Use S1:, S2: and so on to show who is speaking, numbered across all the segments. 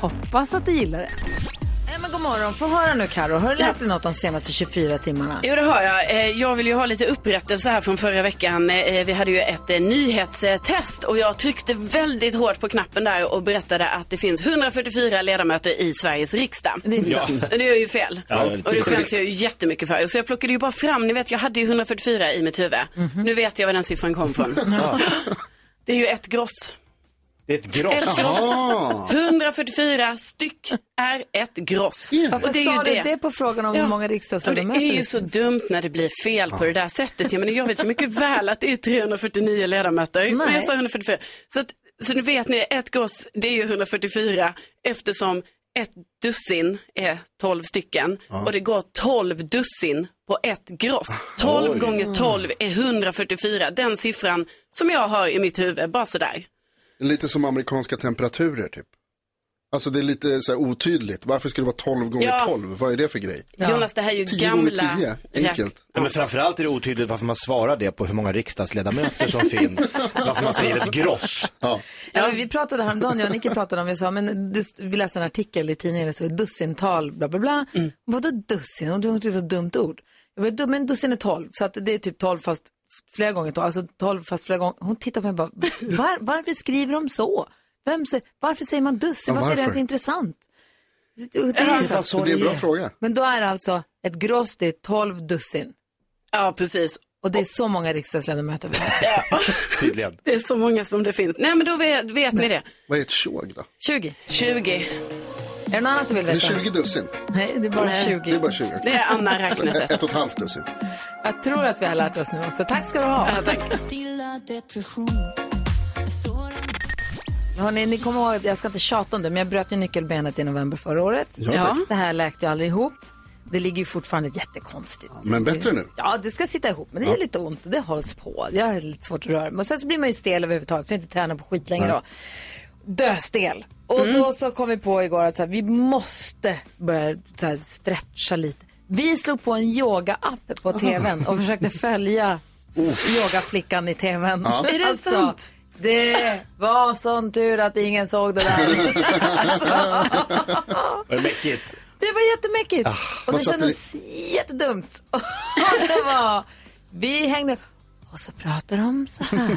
S1: Hoppas att du gillar det. Nej, men god morgon, få höra nu Karo. har du lärt dig något de senaste 24 timmarna?
S2: Jo, det har jag. Eh, Jag vill ju ha lite upprättelse här från förra veckan. Eh, Vi hade ju ett eh, nyhetstest och jag tryckte väldigt hårt på knappen där och berättade att det finns 144 ledamöter i Sveriges riksdag.
S1: Det är inte
S2: ja. Men det är ju fel.
S3: Ja, det är lite
S2: och det
S3: sjukt.
S2: skäms jag ju jättemycket för. Så jag plockade ju bara fram, ni vet jag hade ju 144 i mitt huvud.
S1: Mhm.
S2: Nu vet jag var den siffran kom från. Det är ju ett gross.
S3: Det är ett
S2: Ett
S3: gross.
S2: gross. 144 styck är ett gross.
S1: Varför sa du det på frågan om hur många riksdagsledamöter liksom-
S2: Och det är ju
S1: det
S2: så dumt när det blir fel på det där sättet. Jag, menar, jag vet ju mycket väl att det är 349 ledamöter, men jag sa 144. Så, att, så nu vet ni, ett goss det är ju 144 eftersom ett dussin är 12 stycken och det går 12 dussin på ett gross.
S4: Ah,
S2: 12 gånger 12 är 144, den siffran som jag har i mitt huvud, bara sådär.
S4: Lite som amerikanska temperaturer typ. Alltså det är lite så här otydligt. Varför skulle det vara 12 gånger
S2: Ja.
S4: 12? Vad är det för grej?
S2: Jonas, det här är ju
S4: 10 gånger
S2: gamla...
S4: 10,
S2: räk-
S4: enkelt.
S3: Ja, men framförallt är det otydligt varför man svarar det på hur många riksdagsledamöter som finns. Varför man säger ett gross.
S1: Ja, vi pratade häromdagen, jag och Nicky pratade om, vi sa, men det- vi läste en artikel i tidningen, det stod dussintal, bla bla bla. Vadå dussin? Hon tyckte det var typ ett dumt ord. Jag bara, "Du- men dussin är tolv, så att det är typ tolv fast flera gånger tolv, alltså tolv fast flera gånger. Hon tittar på mig och bara, var, varför skriver de så? Vem, sä- varför säger man dussin?
S4: Ja,
S1: varför? är det
S4: varför?
S1: ens intressant? Det är
S2: Alltså,
S1: så.
S4: Men det är en bra fråga.
S1: Men då är det alltså ett gross, det är tolv dussin.
S2: Ja, precis.
S1: Och det är så många riksdagsledamöter vi har.
S3: Tydligen.
S2: Det är så många som det finns. Nej, men då vet, vet ni det.
S4: Vad är ett tjog då?
S1: 20.
S2: 20.
S1: Är det något annat du vill
S4: Det är
S1: veta?
S4: 20 dussin.
S1: Nej, det är bara
S4: Det
S1: 20.
S4: är bara 20. okej.
S2: Det är Anna
S4: Ett,
S2: Räknesätt.
S4: ett och ett halvt dussin.
S1: Jag tror att vi har lärt oss nu också. Tack ska du ha.
S2: Ja, tack.
S1: Hörrni, ni kommer ihåg, jag ska inte tjata om det, men jag bröt ju nyckelbenet i november förra året.
S2: Ja.
S1: Det här läkte ju aldrig ihop. Det ligger ju fortfarande jättekonstigt.
S4: Men bättre nu.
S1: Ja, det ska sitta ihop, men det är lite ont och det hålls på. Jag har lite svårt att röra mig. Men sen så blir man ju stel överhuvudtaget, för jag inte träna på skit längre då. Döstel. Och
S4: Mm.
S1: då så kom vi på igår att så här, vi måste börja så här, stretcha lite. Vi slog på en yoga-app på tvn och försökte följa yogaflickan i tvn. Alltså,
S4: Ja.
S2: Är det sant?
S1: Det var sån tur att ingen såg det där. Alltså,
S3: Vad mäckigt.
S1: Det var jättemäckigt. och det
S4: Ah, vad satte
S1: kändes jättedumt. Och det var, vi hängde och så pratar de så här.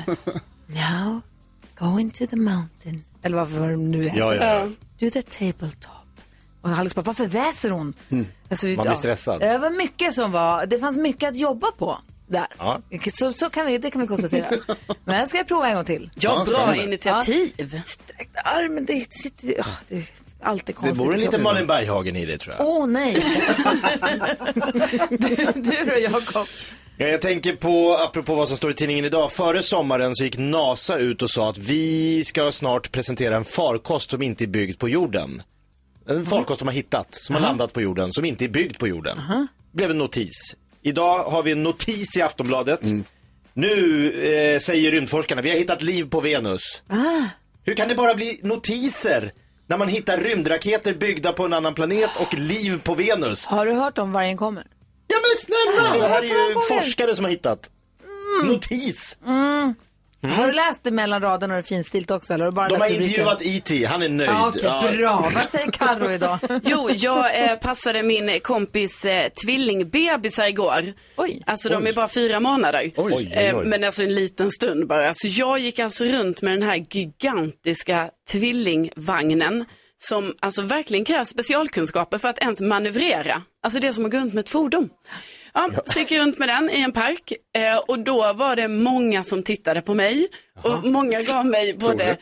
S1: Now, go into the mountain. Eller vad var det nu är.
S3: Ja, ja, ja.
S1: Do the tabletop. Och Alex bara, varför väser hon? Alltså,
S3: Mm. Man blir stressad.
S1: Det var mycket som var, det fanns mycket att jobba på där.
S3: Ja.
S1: Så, så kan vi, det kan vi konstatera. Men ska jag prova en gång till.
S2: Ja, bra
S4: spännande.
S2: initiativ.
S1: Sträckt armen, det sitter, åh, det är alltid
S3: Det
S1: konstigt.
S3: bor en liten Malin Berghagen i det tror jag.
S1: Åh nej! du, du då Jakob?
S3: Ja, jag tänker på, apropå vad som står i tidningen idag, före sommaren så gick NASA ut och sa att vi ska snart presentera en farkost som inte är byggd på jorden. En farkost de har hittat, som har landat på jorden, som inte är byggd på jorden. Blev en notis. Idag har vi en notis i Aftonbladet. Nu eh, säger rymdforskarna, vi har hittat liv på Venus. Hur kan det bara bli notiser när man hittar rymdraketer byggda på en annan planet och liv på Venus?
S1: Har du hört om vargen kommer?
S3: Ja men snälla, det här är ju Mm.
S1: två gånger.
S3: forskare som har hittat. Notis!
S1: Har du läst det mellan raderna och det finstilt också? Eller har du bara
S3: Mm. De
S1: läst
S3: har
S1: rubriken?
S3: intervjuat E.T., han är nöjd.
S1: Ja, Okej,
S3: Ja.
S1: bra. Vad säger Carro idag?
S2: Jo, jag eh, passade min kompis eh, tvillingbebisar igår.
S1: Oj.
S2: Alltså de är bara fyra månader.
S3: Oj, oj, oj.
S2: Eh, men alltså en liten stund bara. Så jag gick alltså runt med den här gigantiska tvillingvagnen. Som alltså verkligen krävs specialkunskaper för att ens manövrera. Alltså det är som att gå runt med ett fordon. Ja, så gick jag runt med den i en park eh, och då var det många som tittade på mig. Och många gav mig både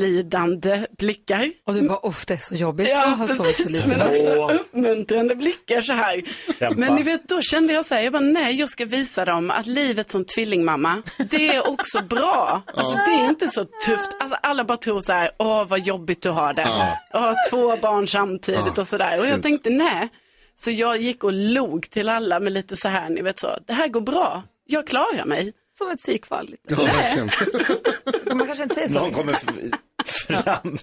S2: medlidande blickar.
S1: Och du bara, uff det är så jobbigt. jag
S2: Ja,
S1: har sovit så
S2: precis.
S1: lite.
S2: Men också uppmuntrande blickar så här.
S3: Kämpa.
S2: Men ni vet, då kände jag så här, jag bara, nej, jag ska visa dem att livet som tvillingmamma, det är också bra. Alltså det är inte så tufft. Alltså, alla bara tror så här, åh vad jobbigt du har det. Jag har två barn samtidigt och så där. Och jag tänkte, nej. Så jag gick och log till alla med lite så här, ni vet så, det här går bra. Jag klarar mig.
S1: Som ett psykfall. lite.
S4: Ja, verkligen.
S1: Man kanske inte säger så.
S3: Någon kommer f- fram.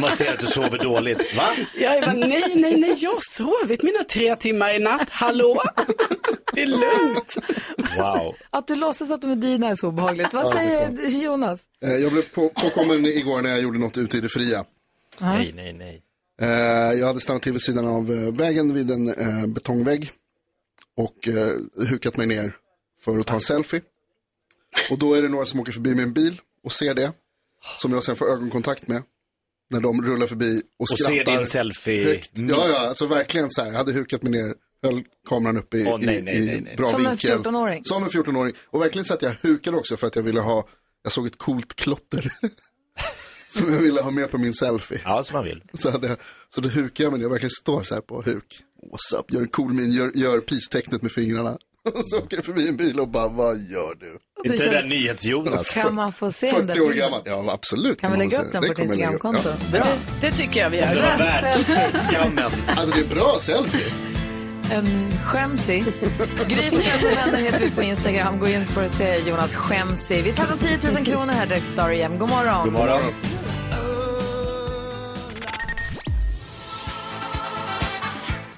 S3: Man ser att du sover dåligt. Va?
S2: Jag bara, nej, nej, nej, jag har sovit mina tre timmar i natt. Hallå? Det är lugnt.
S3: Wow.
S1: Att du låtsas att de är dina är så obehagligt. Vad säger Jonas?
S4: Eh, Jag blev på- påkommen igår när jag gjorde något ute i det fria.
S3: Nej, nej, nej.
S4: Eh, Jag hade stannat till vid sidan av eh, vägen vid en eh, betongvägg och eh, hukat mig ner för att ta en selfie. Och då är det några som åker förbi med en bil och ser det, som jag sen får ögonkontakt med, när de rullar förbi och
S3: Och ser
S4: skrattar.
S3: din selfie. Mm.
S4: högt. Ja, ja, alltså verkligen så här, hade hukat mig ner, höll kameran uppe i,
S3: Åh, nej,
S4: i-
S3: nej,
S4: i
S3: nej, nej.
S4: bra
S1: Som en
S4: vinkel.
S1: 14-åring.
S4: Som en 14-åring. Och verkligen så att jag hukade också för att jag ville ha, jag såg ett coolt klotter. som jag ville ha med på min selfie.
S3: Ja, som man vill.
S4: Så, hade jag, så då hukar jag mig ner och verkligen står så här på huk. What's up, gör en cool min, gör, gör peace-tecknet med fingrarna. Och så åker jag förbi en bil och bara, vad gör du?
S1: Och du
S3: Inte
S1: känner-
S3: den där nyhets-Jonas.
S1: Kan man få se den där
S4: 40 år
S1: bilden?
S4: gammal, ja absolut.
S1: Kan vi
S4: man
S1: lägga
S4: väl
S1: upp
S4: säga.
S1: den
S4: Det
S1: på ditt
S4: kommer jag lägga upp.
S1: Instagramkonto?
S2: Det, det tycker jag vi gör.
S3: Det var värt
S1: Rassel.
S3: skammen.
S4: Ja. Alltså det är bra selfie.
S1: En skämsig. Gry Forssell med vänner heter vi på Instagram. Gå in för att se Jonas skämsig. Vi tar om 10 000 kronor här direkt på Dariem. God morgon.
S3: God morgon.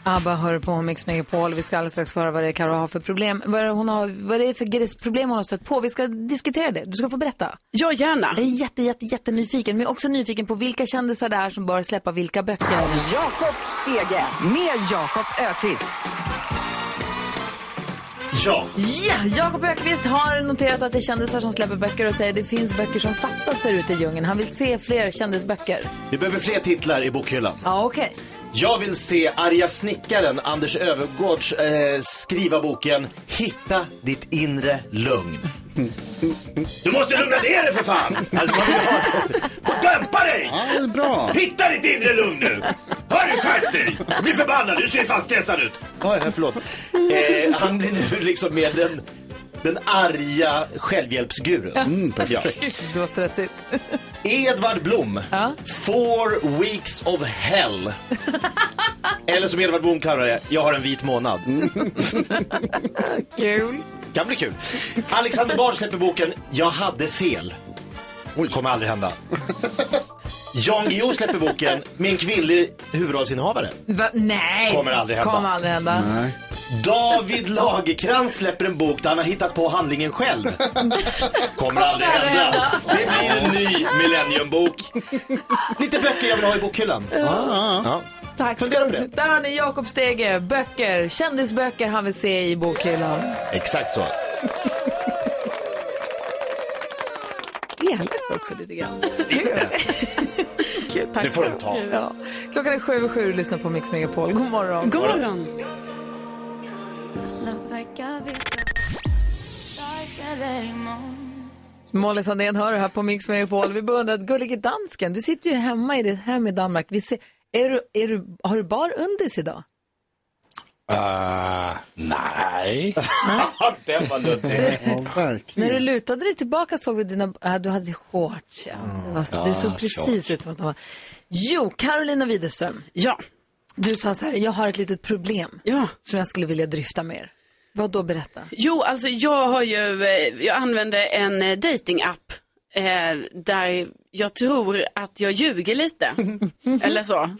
S1: Abba hör på Mix Megapol. Vi ska alldeles strax få höra vad det är Karo har för problem. Vad det, hon har, vad det är för gres- problem hon har stött på. Vi ska diskutera det. Du ska få berätta.
S2: Ja, gärna.
S1: Jag är jätte, jätte, jättenyfiken. Men jag är också nyfiken på vilka kändisar det är som bör släppa vilka böcker.
S5: Jakob Stege med Jakob Ökvist.
S3: Ja.
S1: Ja, Jakob Ökvist har noterat att det är kändisar som släpper böcker och säger att det finns böcker som fattas där ute i djungeln. Han vill se fler kändisböcker.
S3: Vi behöver fler titlar i bokhyllan.
S1: Ja, okej.
S3: Jag vill se arga snickaren Anders Övergårds eh, skriva boken Hitta ditt inre lugn. Du måste lugna ner dig för fan! Alltså man vill ha Dämpa dig!
S4: Ja, det är bra.
S3: Hitta ditt inre lugn nu! Hör du, skärp dig! Bli förbannad, du ser fan stressad ut. Ja, ja, förlåt. Eh, han blir nu liksom mer den, den arga självhjälpsgurun. Ja.
S1: Det var stressigt.
S3: Edvard Blom, Four Weeks of Hell. Eller som Edvard Blom kallar det, Jag har en vit månad.
S1: Kul.
S3: Kan bli kul. Alexander Bard släpper boken Jag hade fel. Kommer aldrig hända. Jan Guillou släpper boken Med en kvinnlig huvudrollsinnehavare.
S1: Va? Nej.
S3: Kommer aldrig hända.
S1: Kommer aldrig hända.
S3: David Lagerkrans släpper en bok där han har hittat på handlingen själv. Kommer aldrig
S1: aldrig
S3: hända. Det blir en ny millenniumbok. Lite böcker jag vill ha i bokhyllan. Ja.
S1: Tack
S3: Fundera på det.
S1: Där har ni Jakob Stege. Böcker. Kändisböcker han vill se i bokhyllan.
S3: Exakt så.
S1: Elakt också lite grann. Kul. Tack
S3: Det får de ta.
S1: Ja. Klockan är sju och sju och lyssnar på Mix Megapol. God morgon.
S2: God morgon.
S1: Molly Sandén hör här på Mix Megapol. Vi beundrar att gullige dansken, du sitter ju hemma i ditt hem i Danmark. Vi ser, är du, är du, har du bar undis idag?
S6: Nej.
S3: Den var luddig.
S4: Ja, verkligen.
S1: När du lutade dig tillbaka såg vi dina, äh, du hade shorts. Mm. Ja. Det, var, det såg precis ut som att de var. Jo, Carolina Widerström,
S2: Ja,
S1: du sa så här, jag har ett litet problem
S2: ja.
S1: som jag skulle vilja dryfta med er. Vad då berätta?
S2: Jo, alltså jag har ju, eh, jag använde en eh, dating-app eh, där jag tror att jag ljuger lite. Eller så.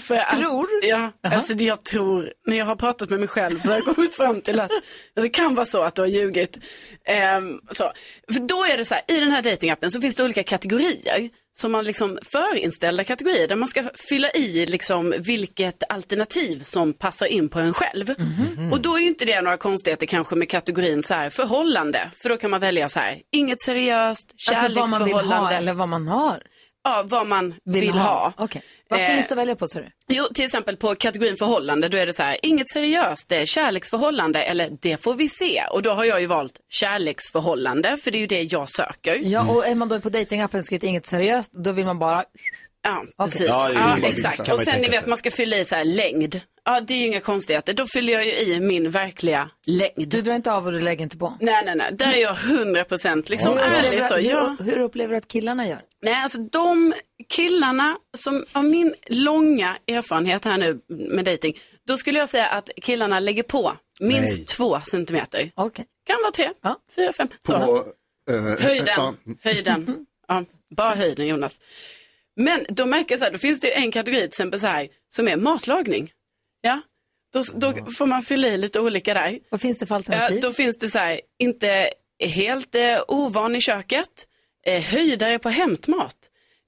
S2: För att,
S1: Tror?
S2: Ja, alltså det jag tror, när jag har pratat med mig själv så har jag kommit fram till att det kan vara så att du har ljugit. Ehm, så. För då är det så här, i den här datingappen så finns det olika kategorier. Som man liksom förinställda kategorier där man ska fylla i liksom vilket alternativ som passar in på en själv.
S1: Mhm.
S2: Och då är ju inte det några konstigheter kanske med kategorin så här förhållande. För då kan man välja så här, inget seriöst,
S1: Alltså vad man
S2: kärleksförhållande.
S1: vill ha eller vad man har.
S2: ja, vad man vill,
S1: Vill,
S2: ha.
S1: Okej. Vad
S2: Eh,
S1: finns det att välja på, sa du?
S2: Jo, till exempel på kategorin förhållande, då är det så här, inget seriöst, det är kärleksförhållande eller det får vi se. Och då har jag ju valt kärleksförhållande, för det är ju det jag söker.
S1: Ja, och är man då på dejtingappen och skrivit inget seriöst, då vill man bara...
S2: Ja, precis. Ja,
S3: Ja, det är ju bara vissa.
S2: exakt.
S3: Kan
S2: Och
S3: man ju
S2: sen ni
S3: tänka
S2: vet,
S3: sig.
S2: man ska fylla i så här längd. Ja, det är ju inga konstigheter. Då fyller jag ju i min verkliga längd.
S1: Du drar inte av och du lägger inte på.
S2: Nej, nej, nej. Där är jag 100 procent liksom ärlig. Så, ja.
S1: hur, hur upplever du att killarna gör?
S2: Nej, alltså de killarna som av min långa erfarenhet här nu med dating, då skulle jag säga att killarna lägger på minst två centimeter.
S1: Okej.
S2: Kan vara tre,
S1: Ja.
S2: fyra, fem. Så.
S4: På, eh, ja,
S2: Höjden, höjden. Ja, bara höjden Jonas. Men då märker jag så här, då finns det ju en kategori till exempel så här, som är matlagning. Ja, då, då får man fylla i lite olika där.
S1: Vad finns det för
S2: Ja,
S1: alternativ?
S2: då finns det så här, inte helt eh, ovan i köket, eh, höjdare på hämtmat,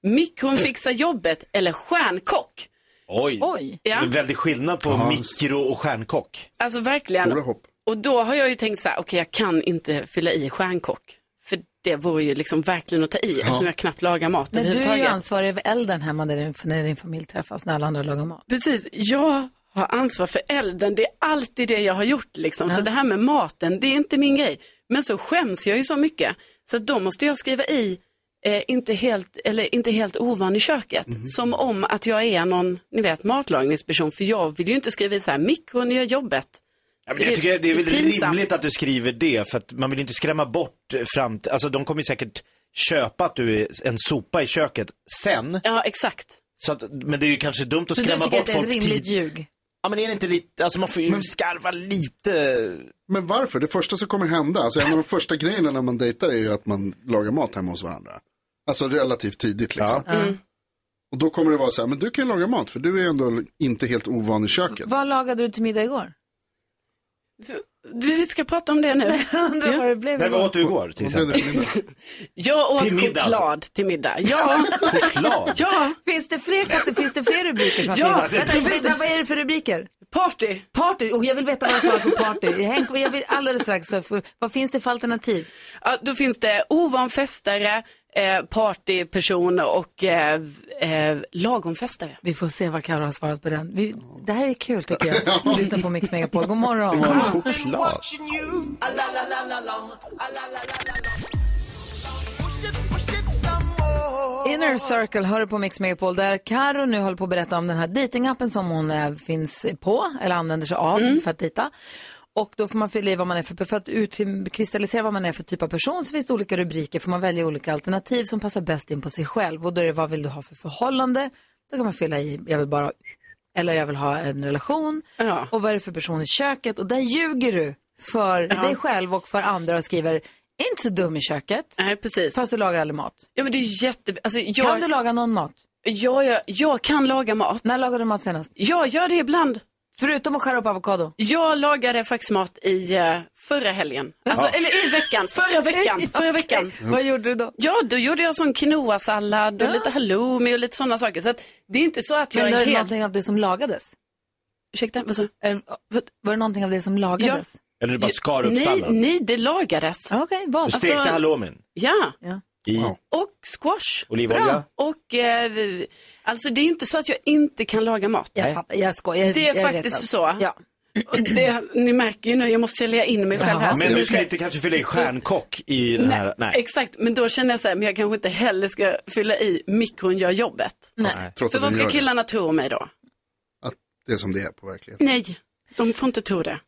S2: mikron fixar jobbet eller stjärnkock.
S3: Oj.
S1: Oj.
S3: Det är
S2: Ja.
S3: väldigt skillnad på mikro och stjärnkock.
S2: Alltså verkligen.
S4: Stora hopp.
S2: Och då har jag ju tänkt så här, okej jag kan inte fylla i stjärnkock. För det vore ju liksom verkligen att ta i eftersom jag knappt lagar mat
S1: Men du är ju
S2: överhuvudtaget.
S1: ansvarig över elden hemma när din, när din familj träffas, när alla andra lagar mat.
S2: Precis, jag har ansvar för elden. Det är alltid det jag har gjort liksom. Så det här med maten, det är inte min grej. Men så skäms jag ju så mycket. Så att då måste jag skriva i, eh, inte, helt, eller, inte helt ovan i köket. Som om att jag är någon, ni vet, matlagningsperson. För jag vill ju inte skriva i så här, mikron gör jobbet.
S3: Ja, men jag tycker det är väl
S2: Det är pinsamt.
S3: rimligt att du skriver det, för att man vill ju inte skrämma bort eh, fram Alltså de kommer ju säkert köpa att du är en sopa i köket sen.
S2: Ja, exakt.
S3: Så att, men det är ju kanske dumt att
S1: Så du
S3: skrämma
S1: tycker att
S3: bort
S1: det är ett
S3: folk
S1: rimligt
S3: tid.
S1: ljug?
S3: Ja men är det inte lite, alltså man får ju skarva lite.
S4: Men varför? Det första som kommer hända, alltså en av de första grejerna när man dejtar är ju att man lagar mat hemma hos varandra. Alltså relativt tidigt liksom. Och då kommer det vara så här, men du kan ju laga mat för du är ju ändå inte helt ovan i köket.
S1: Vad lagade du till middag igår?
S2: Du, vi ska prata om det nu.
S1: Undrar vad det blev
S3: Nej vad
S1: igår.
S3: åt du igår till
S4: Vad blev det
S3: exempel?
S4: för middag?
S2: Jag åt choklad
S3: Till middag, alltså.
S2: till middag. Ja,
S3: Choklad?
S2: ja,
S1: Finns det fler, katte- finns det fler rubriker? som har
S2: Ja,
S1: skrivit?
S2: det-
S1: vänta,
S2: det-
S1: vänta, vad är det för rubriker?
S2: party.
S1: Party, och jag vill veta vad jag svarar på party. Henk, jag vill alldeles strax, så får- vad finns det för alternativ?
S2: Ja, då finns det ovan festare, eh, partyperson och eh, eh, lagom festare.
S1: Vi får se vad Karo har svarat på den. Vi, det här är kul tycker jag. Lyssna på Mix Megapol. God morgon.
S3: Choklad?
S1: Inner Circle hör du på Mix Megapol där Karo nu håller på att berätta om den här datingappen som hon eh, finns på eller använder sig av
S2: Mm.
S1: för att dejta. Och då får man fylla i vad man är för, för att utkristallisera vad man är för typ av person så finns det olika rubriker, får man välja olika alternativ som passar bäst in på sig själv. Och då är det vad vill du ha för förhållande? Då kan man fylla i, jag vill bara, eller jag vill ha en relation.
S2: Ja.
S1: Och vad är det för person i köket? Och där ljuger du för dig själv och för andra och skriver, "Är inte så dum i köket,
S2: Nej, precis.
S1: fast du lagar aldrig mat.
S2: Ja, men det är jätte... Alltså, jag,
S1: Kan du laga någon mat?
S2: ja, ja, jag kan laga mat.
S1: När lagade du mat senast?
S2: Jag gör det ibland.
S1: Förutom att skära upp avokado.
S2: Jag lagade faktiskt mat i eh, förra helgen. Alltså, Eller i veckan. Förra veckan. Förra veckan.
S1: Vad gjorde du då?
S2: Ja, då gjorde jag sån quinoa-sallad och lite halloumi och lite sådana saker. Så att, det är inte så att jag
S1: Men var
S2: är
S1: det
S2: helt...
S1: någonting av det som lagades?
S2: Ursäkta, vad sa du?
S1: Eller, vad- Var det någonting av det som lagades?
S3: Eller du bara skar upp
S2: Nej,
S3: salladen?
S2: nej, det lagades.
S1: Ja. Okej, vad?
S3: Du stekte
S2: Alltså-
S3: halloumin
S2: Ja,
S1: Ja.
S3: i
S4: Wow.
S2: och squash.
S3: olivolja?
S2: Och eh, vi- alltså det är inte så att jag inte kan laga mat.
S1: Jag fattar, jag skojar. Jag-
S2: Det är
S1: jag
S2: faktiskt
S1: retad.
S2: så.
S1: Ja.
S2: Och det, ni märker ju nu, jag måste sälja in mig själv här.
S1: Ja.
S2: så
S3: Men
S2: Alltså, jag
S3: du ska
S2: ska-
S3: inte kanske fylla i stjärnkock i den här? Nej.
S2: Exakt, men då känner jag så här, men jag kanske inte heller ska fylla i mikron gör jobbet.
S4: Trots
S2: För
S4: att
S2: vad
S4: den
S2: ska
S4: gör det.
S2: killarna tro om mig då?
S4: Att det är som det är på verkligheten.
S2: Nej, de får inte tro det.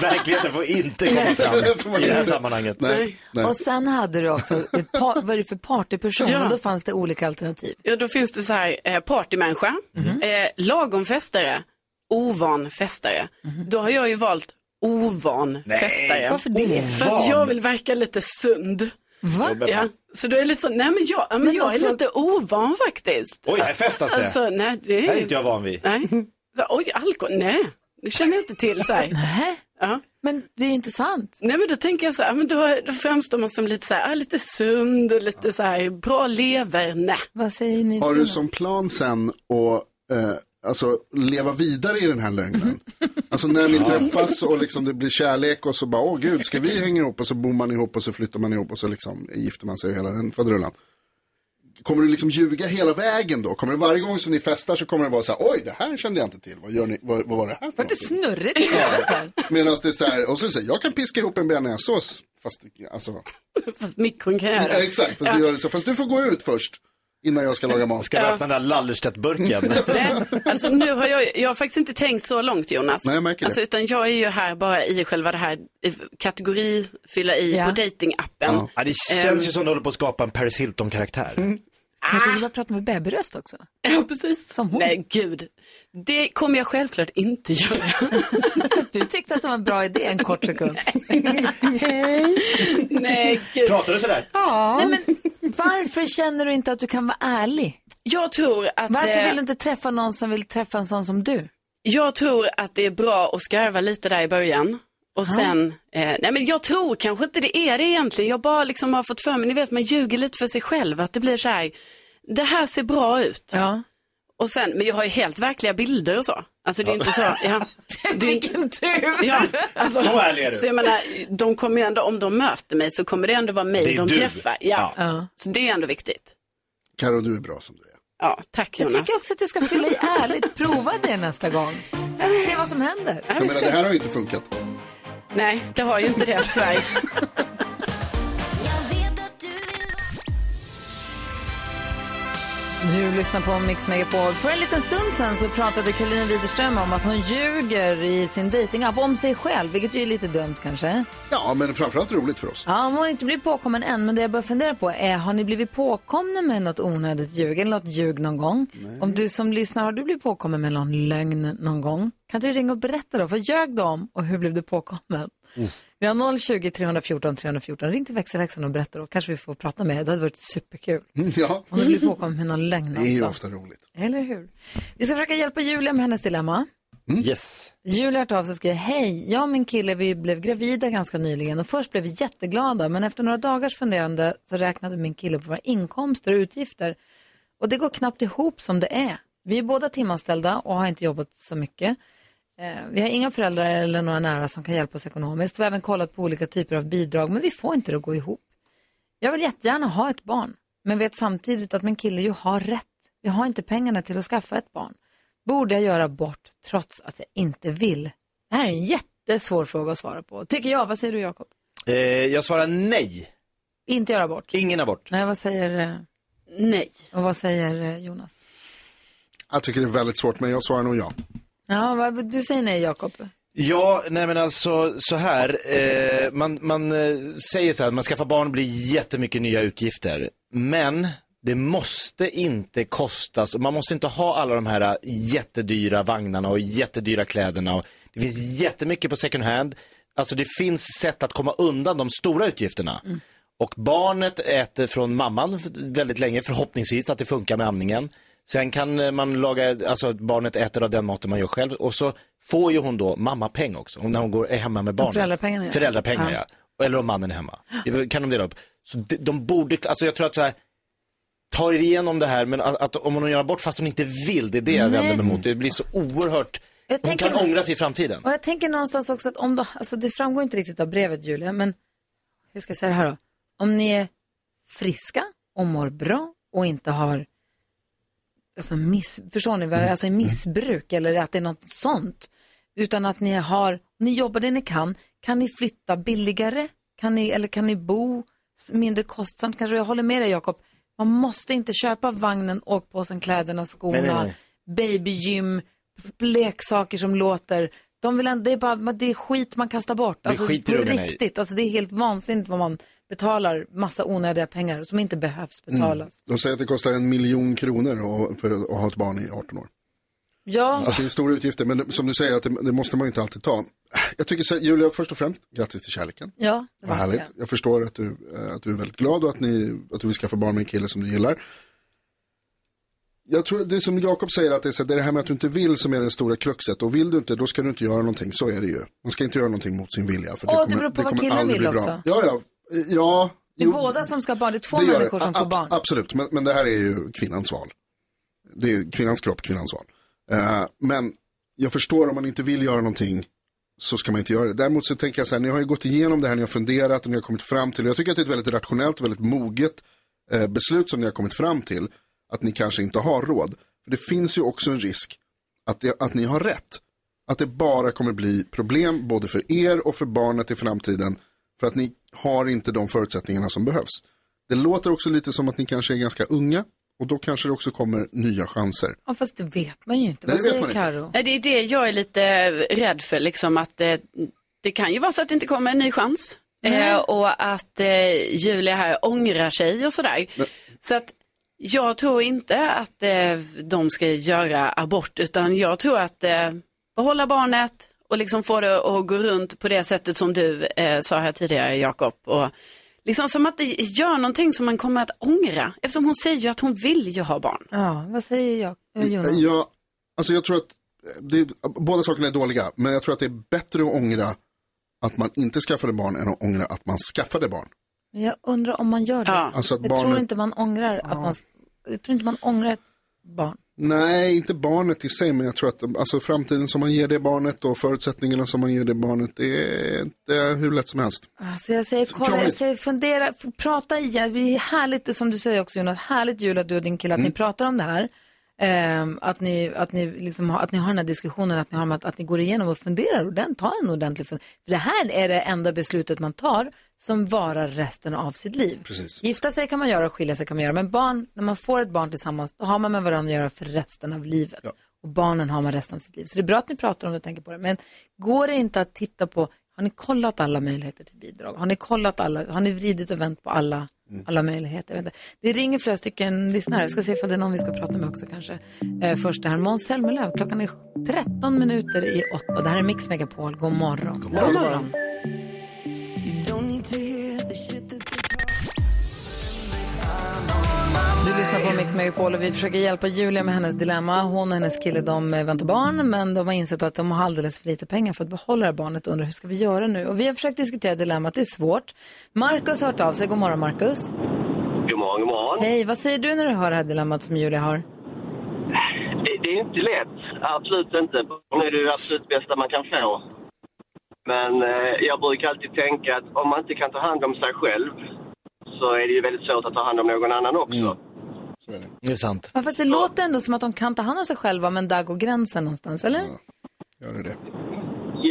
S3: Verkligheten får inte komma
S4: Det får
S3: fram
S4: man
S3: i det här
S4: inte.
S3: sammanhanget.
S2: Mm.
S4: Nej, nej.
S1: Och sen hade du också, ett par, vad är det för partyperson?
S2: Ja.
S1: Och då fanns det olika alternativ.
S2: Ja, då finns det så här, eh, partymänniska, eh, lagom festare, ovan festare. Då har jag ju valt ovan festare.
S1: Varför det?
S2: För att jag vill verka lite sund.
S1: Va?
S2: Ja, så då är det lite så, nej men jag, ja, men
S1: Men
S2: jag
S1: också-
S2: är lite ovan faktiskt.
S3: Oj, här festas det.
S2: Alltså, nej, det
S3: Det här
S2: är
S3: är inte jag van vid.
S2: Nej. Så, oj, alkohol, nej, det känner jag inte till. Så här.
S1: Nähä?
S2: Ja.
S1: Men det är ju inte sant.
S2: Nej, men då tänker jag så här, men då, då framstår man som lite så här, ah, lite sund och lite så här, bra lever, nej.
S1: Vad säger ni?
S4: Har du
S1: Jonas?
S4: som plan sen att eh, alltså, leva vidare i den här lögnen? Alltså när ni träffas och liksom det blir kärlek och så bara, åh gud, ska vi hänga ihop? Och så bor man ihop och så flyttar man ihop och så liksom gifter man sig och hela den faderullan. Kommer du liksom ljuga hela vägen då? Kommer det varje gång som ni festar så kommer det vara så här, oj det här kände jag inte till, vad, gör ni, vad, vad var det här för
S1: Vart det
S4: någonting?"
S1: snurrigt i huvudet här?
S4: Medan det är så här, och så säger jag kan piska ihop en bearnaisesås. Fast, alltså,
S2: Fast mikron kan göra
S4: ja,
S2: det.
S4: exakt, fast, du gör det så. fast du får gå ut först innan jag ska laga mat.
S3: Ska du öppna den där Lallerstedt-burken?
S2: Nej, alltså nu har jag, jag har faktiskt inte tänkt så långt Jonas.
S4: Nej, jag märker det.
S2: Alltså, utan jag är ju här bara i själva det här eh, kategori, fylla i
S1: Ja.
S2: på datingappen.
S4: Ja.
S3: Ja, det känns ju som du håller på att skapa en Paris Hilton-karaktär.
S1: Kanske skulle jag prata med babyröst också?
S2: Ja, precis.
S1: Som hon.
S2: Nej, gud. Det kommer jag självklart inte göra.
S1: Du tyckte att det var en bra idé en kort sekund.
S2: Nej, gud.
S3: Pratar du sådär?
S1: Nej, men varför känner du inte att du kan vara ärlig?
S2: Jag tror att
S1: Varför
S2: det...
S1: vill du inte träffa någon som vill träffa en sån som du?
S2: Jag tror att det är bra att skarva lite där i början. Och sen, eh, nej men jag tror kanske inte det är det egentligen. Jag bara liksom har fått för mig, ni vet man ljuger lite för sig själv. Att det blir så här, det här ser bra ut.
S1: Ja.
S2: Och sen, men jag har ju helt verkliga bilder och så. Alltså det är ju inte så, ja. Det är, ju-
S1: Vilken tur!
S2: ja alltså,
S3: Så ärlig är du.
S2: Så jag menar, de kommer ju ändå, om de möter mig så kommer det ändå vara mig
S3: Det är
S2: de
S3: du.
S2: träffar. Ja.
S1: Ja.
S2: Så det är ändå viktigt.
S4: Karo, du är bra som du är.
S2: Ja, tack
S1: Jag
S2: Jonas.
S1: tycker också att du ska fylla i ärligt. Prova det nästa gång. Se vad som händer.
S2: Ja,
S4: Jag
S2: men
S4: menar,
S2: så-
S4: det här har ju inte funkat.
S2: Nej, det har ju inte det tyvärr.
S1: Du lyssnar på Mix Megapol. För en liten stund sen så pratade Caroline Widerström om att hon ljuger i sin dejtingapp om sig själv, vilket ju är lite dumt kanske.
S4: Ja, men framförallt roligt för oss.
S1: Ja, hon har inte blivit påkommen än, men det jag börjar fundera på är, har ni blivit påkomna med något onödigt ljug eller något ljug någon gång? Om du som lyssnar, har du blivit påkommen med någon lögn någon gång? Kan inte du ringa och berätta då? Vad ljög du om och hur blev du påkommen?
S4: Mm.
S1: Vi har 020 314 314. Ring till växelhäxan och berätta då. Kanske vi får prata med er. Det hade varit superkul.
S4: Mm, Ja,
S1: Om du blir påkommen med någon lögn
S4: det är ju
S1: alltså.
S4: ofta roligt.
S1: Eller hur? Vi ska försöka hjälpa Julia med hennes dilemma.
S2: Mm.
S3: Yes.
S1: Julia har hört av sig och skriver, hej, jag och min kille vi blev gravida ganska nyligen och först blev vi jätteglada men efter några dagars funderande så räknade min kille på våra inkomster och utgifter och det går knappt ihop som det är. Vi är båda timanställda och har inte jobbat så mycket. Eh, Vi har inga föräldrar eller några nära som kan hjälpa oss ekonomiskt. Vi har även kollat på olika typer av bidrag men vi får inte det att gå ihop. Jag vill jättegärna ha ett barn, men vet samtidigt att min kille ju har rätt. Vi har inte pengarna till att skaffa ett barn. Borde jag göra bort trots att jag inte vill? Det här är en jättesvår fråga att svara på. Tycker jag. Vad säger du Jakob?
S3: Eh, jag svarar nej.
S1: Inte göra bort.
S3: Ingen abort.
S1: Nej, vad säger, eh,
S2: Nej.
S1: och vad säger eh, Jonas?
S4: Jag tycker det är väldigt svårt, men jag svarar nog ja.
S1: Ja, vad, du säger nej Jakob.
S3: Ja, nej men alltså så här. Eh, man man eh, säger så här, man skaffar barn blir jättemycket nya utgifter. Men det måste inte kostas, och man måste inte ha alla de här eh, jättedyra vagnarna och jättedyra kläderna. Och det finns jättemycket på second hand. Alltså det finns sätt att komma undan de stora utgifterna. Och barnet äter från mamman väldigt länge, förhoppningsvis att det funkar med amningen. Sen kan eh, man laga, alltså att barnet äter av den maten man gör själv. Och så får ju hon då mammapeng också, om när hon går, är hemma med barnet.
S1: föräldrapengarna, ja.
S3: Föräldrapengar, ja. Eller om mannen är hemma. Det Kan de dela upp. Så de, de borde, alltså jag tror att så här, tar er igenom det här, men att, att om hon gör abort fast hon inte vill, det är det jag
S1: Nej.
S3: vänder mig mot. Det blir så oerhört,
S1: Jag
S3: hon
S1: tänker-
S3: kan ångra sig i framtiden.
S1: Och jag tänker någonstans också att om då, alltså det framgår inte riktigt av brevet Julia, men hur ska jag säga det här då? Om ni är friska och mår bra och inte har, alltså miss, förstår ni, vad jag- alltså missbruk eller att det är något sånt, utan att ni har, ni jobbar det ni kan, kan ni flytta billigare? Kan ni, eller kan ni bo s- mindre kostsamt? Kanske jag håller med dig Jakob, man måste inte köpa vagnen, åkpåsen, kläderna, skorna,
S3: Nej, nej, nej.
S1: babygym, leksaker som låter. De vill ändå, det, är bara, men det är skit man kastar bort.
S3: Det skiter
S1: på
S3: ungarna i.
S1: riktigt. Alltså, det är helt vansinnigt vad man betalar massa onödiga pengar som inte behövs betalas.
S3: Mm.
S4: De säger att det kostar en miljon kronor och- för att ha ett barn i 18 år. Så
S1: Ja,
S4: att det är stora utgifter, men det- som du säger, att det, det måste man ju inte alltid ta. Jag tycker så här, Julia, först och främst, grattis till kärleken.
S1: ja. det
S4: Vad
S1: var
S4: härligt.
S1: det.
S4: Jag förstår att du, eh, att du är väldigt glad och att, ni, att du vill skaffa barn med en kille som du gillar. Jag tror det är som Jakob säger, att det är, så, här, det är det här med att du inte vill som är det stora kruxet. Och vill du inte, då ska du inte göra någonting. Så är det ju. Man ska inte göra någonting mot sin vilja. För
S1: Åh, det beror på vad killen
S4: aldrig
S1: vill
S4: bli
S1: också.
S4: Ja, ja. eh, ja
S1: Det är båda som ska ha barn, det är två
S4: det gör
S1: människor
S4: det.
S1: som får
S4: Ab-
S1: barn.
S4: Absolut, men, men det här är ju kvinnans val. Det är ju kvinnans kropp, kvinnans val. Eh, men jag förstår om man inte vill göra någonting så ska man inte göra det. Däremot så tänker jag så här, ni har ju gått igenom det här, ni har funderat och ni har kommit fram till, och jag tycker att det är ett väldigt rationellt, väldigt moget eh, beslut som ni har kommit fram till att ni kanske inte har råd. För det finns ju också en risk att, det, att ni har rätt. Att det bara kommer bli problem både för er och för barnet i framtiden för att ni har inte de förutsättningarna som behövs. Det låter också lite som att ni kanske är ganska unga och då kanske det också kommer nya chanser.
S1: Ja, fast det vet man ju inte.
S4: Nej,
S1: Vad
S4: det vet
S1: säger
S4: man inte.
S1: Karo?
S2: Nej, det är det jag är lite rädd för, liksom, att eh, det kan ju vara så att det inte kommer en ny chans. Eh, och att eh, Julia här ångrar sig och sådär. Så att jag tror inte att eh, de ska göra abort, utan jag tror att eh, behålla barnet och liksom få det att gå runt på det sättet som du eh, sa här tidigare, Jakob. Och Liksom som att det gör någonting som man kommer att ångra. Eftersom hon säger ju att hon vill ju ha barn.
S1: Ja, vad säger jag? Eh, Jonas?
S4: Ja, alltså jag tror att det, båda sakerna är dåliga, men jag tror att det är bättre att ångra att man inte skaffade barn än att ångra att man skaffade barn.
S1: Men Jag undrar om man gör det.
S2: Ja.
S4: Alltså att
S1: jag tror
S4: barnet-
S1: inte man ångrar att man... Jag tror inte man ångrar ett barn.
S4: Nej, inte barnet i sig, men jag tror att alltså, framtiden som man ger det barnet och förutsättningarna som man ger det barnet, det är inte hur lätt som helst.
S1: Alltså jag säger, kolla, jag
S4: krångligt.
S1: säger fundera, f- prata igen. Det är härligt, det som du säger också Jonas, härligt Julia, att du och din kille, att
S4: Mm.
S1: ni pratar om det här. Ehm, att, ni, att, ni liksom har, att ni har den här diskussionen, att ni, har, de här- att ni går igenom och funderar och den tar en ordentlig fun- För det här är det enda beslutet man tar som varar resten av sitt liv.
S4: Precis.
S1: Gifta sig kan man göra och skilja sig kan man göra, men barn, när man får ett barn tillsammans, då har man med varandra att göra för resten av livet. Och barnen har man resten av sitt liv. Så det är bra att ni pratar om det och tänker på det. Men går det inte att titta på, har ni kollat alla möjligheter till bidrag? Har ni kollat alla, har ni vridit och vänt på alla, alla möjligheter? Jag vet inte. Det ringer flera stycken lyssnare, jag ska se ifall det är någon vi ska prata med också kanske. Eh, först det här, Måns Zelmerlöw, klockan är 13 minuter i 8. Det här är Mix Megapol, god morgon. God morgon. Du lyssnar på Mix Megapol och vi försöker hjälpa Julia med hennes dilemma. Hon och hennes kille de eh, väntar barn men de har insett att de har alldeles för lite pengar för att behålla det här barnet och undrar hur ska vi göra nu? Och vi har försökt diskutera dilemmat, det är svårt. Markus har hört av sig, god morgon Markus.
S6: God morgon, god morgon.
S1: Hej, vad säger du när du hör det här dilemmat som Julia har?
S6: Det, det är inte lätt. Absolut inte. Barn är det ju absolut bästa man kan få. Men eh, jag brukar alltid tänka att om man inte kan ta hand om sig själv så är det ju väldigt svårt att ta hand om någon annan också.
S3: Det är sant.
S1: Ja, fast det låter ändå som att de kan ta hand om sig själva men där går gränsen någonstans, eller?
S4: Gör det det?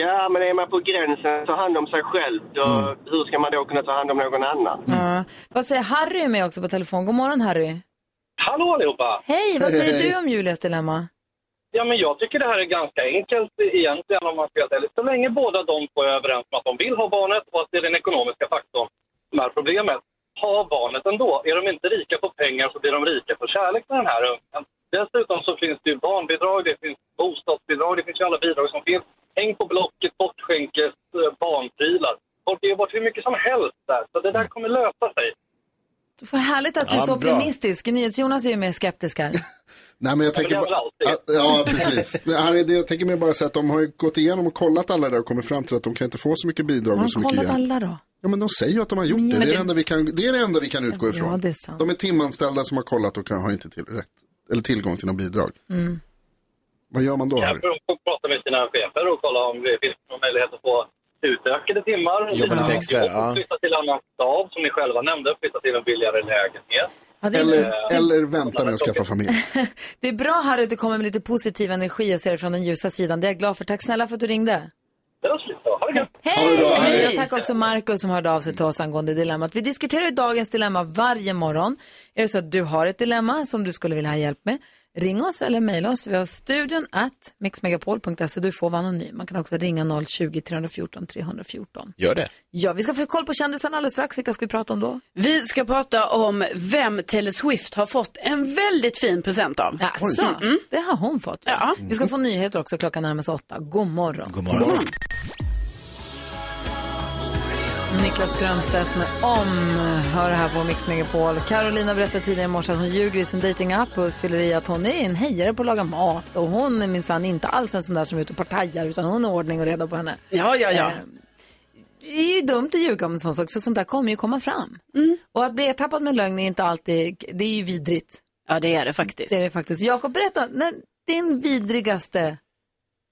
S6: Ja, men är man på gränsen att ta hand om sig själv, då, hur ska man då kunna ta hand om någon annan?
S1: Ja. Vad säger Harry är med också på telefon? God morgon Harry.
S6: Hallå allihopa!
S1: Hej, vad säger
S4: Hej, hej.
S1: du om Julias dilemma?
S6: Ja, men jag tycker det här är ganska enkelt egentligen om man ska vara ärlig. Så länge båda de två är överens om att de vill ha barnet och att det är den ekonomiska faktorn som är problemet. Ha barnet ändå. Är de inte rika på pengar så blir de rika på kärlek med den här ungen. Dessutom så finns det ju barnbidrag, det finns bostadsbidrag, det finns ju alla bidrag som finns. Häng på Blocket, bortskänkes, eh, barnprylar. Folk ger bort hur mycket som helst där, så det där kommer lösa sig.
S1: Det var härligt att du är
S3: Ja,
S1: så
S3: bra.
S1: optimistisk. NyhetsJonas är ju mer skeptisk här.
S4: Nej, men jag tänker
S6: det är
S4: bara...
S6: väl
S4: Ja,
S6: alltid.
S4: ja, precis. Men Harry, det, jag tänker mer bara så att de har ju gått igenom och kollat alla där och kommit fram till att de kan inte få så mycket bidrag
S1: Har
S4: och så
S1: de
S4: mycket
S1: kollat
S4: hjälp.
S1: alla då?
S4: Ja, men de säger ju att de har gjort det. Det är det, enda vi kan, det är det enda vi kan utgå ifrån.
S1: det är sant.
S4: De är timanställda som har kollat och kan, har inte till, rätt, eller tillgång till något bidrag.
S1: Mm.
S4: Vad gör man då?
S6: Ja,
S4: Harry?
S6: för de får prata med sina chefer och kolla om det finns någon möjlighet att få utökade timmar.
S3: Jobba lite extra, ja.
S6: Flytta till annan stad, som ni själva nämnde. Flytta till en billigare lägenhet.
S1: Ja, det, är,
S4: Eller, eller vänta med att skaffa familj.
S1: det är bra Harry att du kommer med lite positiv energi och ser det från den ljusa sidan. Det är jag glad för. Tack snälla för att du ringde.
S6: Det var slut då. Ha det gött!
S1: Hej! Hej! Och tack också Markus som hörde av sig till oss angående dilemmat. Vi diskuterar ju dagens dilemma varje morgon. Är det så att du har ett dilemma som du skulle vilja ha hjälp med, ring oss eller mejla oss. Vi har studion at mixmegapol.se. Du får vara anonym. Man kan också ringa 020-314 314.
S3: Gör det.
S1: Ja, vi ska få koll på kändisarna alldeles strax. Vilka ska vi prata om då?
S2: Vi ska prata om vem Taylor Swift har fått en väldigt fin present av.
S1: Alltså, det har hon fått. ja.
S2: Ja.
S1: Vi ska få nyheter också klockan närmar sig åtta. God morgon.
S3: God morgon.
S1: Niklas Strömstedt med Om hör här på Mix Megapol. Carolina berättade tidigare i morse att hon ljuger i sin datingapp och fyller i att hon är en hejare på att laga mat och hon är minsann inte alls en sån där som är ute och partajar utan hon är ordning och reda på henne. Eh,
S2: Ja, ja, ja.
S1: Det är ju dumt att ljuga om en sån sak för sånt där kommer ju komma fram.
S3: Mm.
S1: Och att bli ertappad med lögn är inte alltid, det är ju vidrigt.
S2: Ja, det är det faktiskt.
S1: Det är det faktiskt. Jakob, berätta, när, din vidrigaste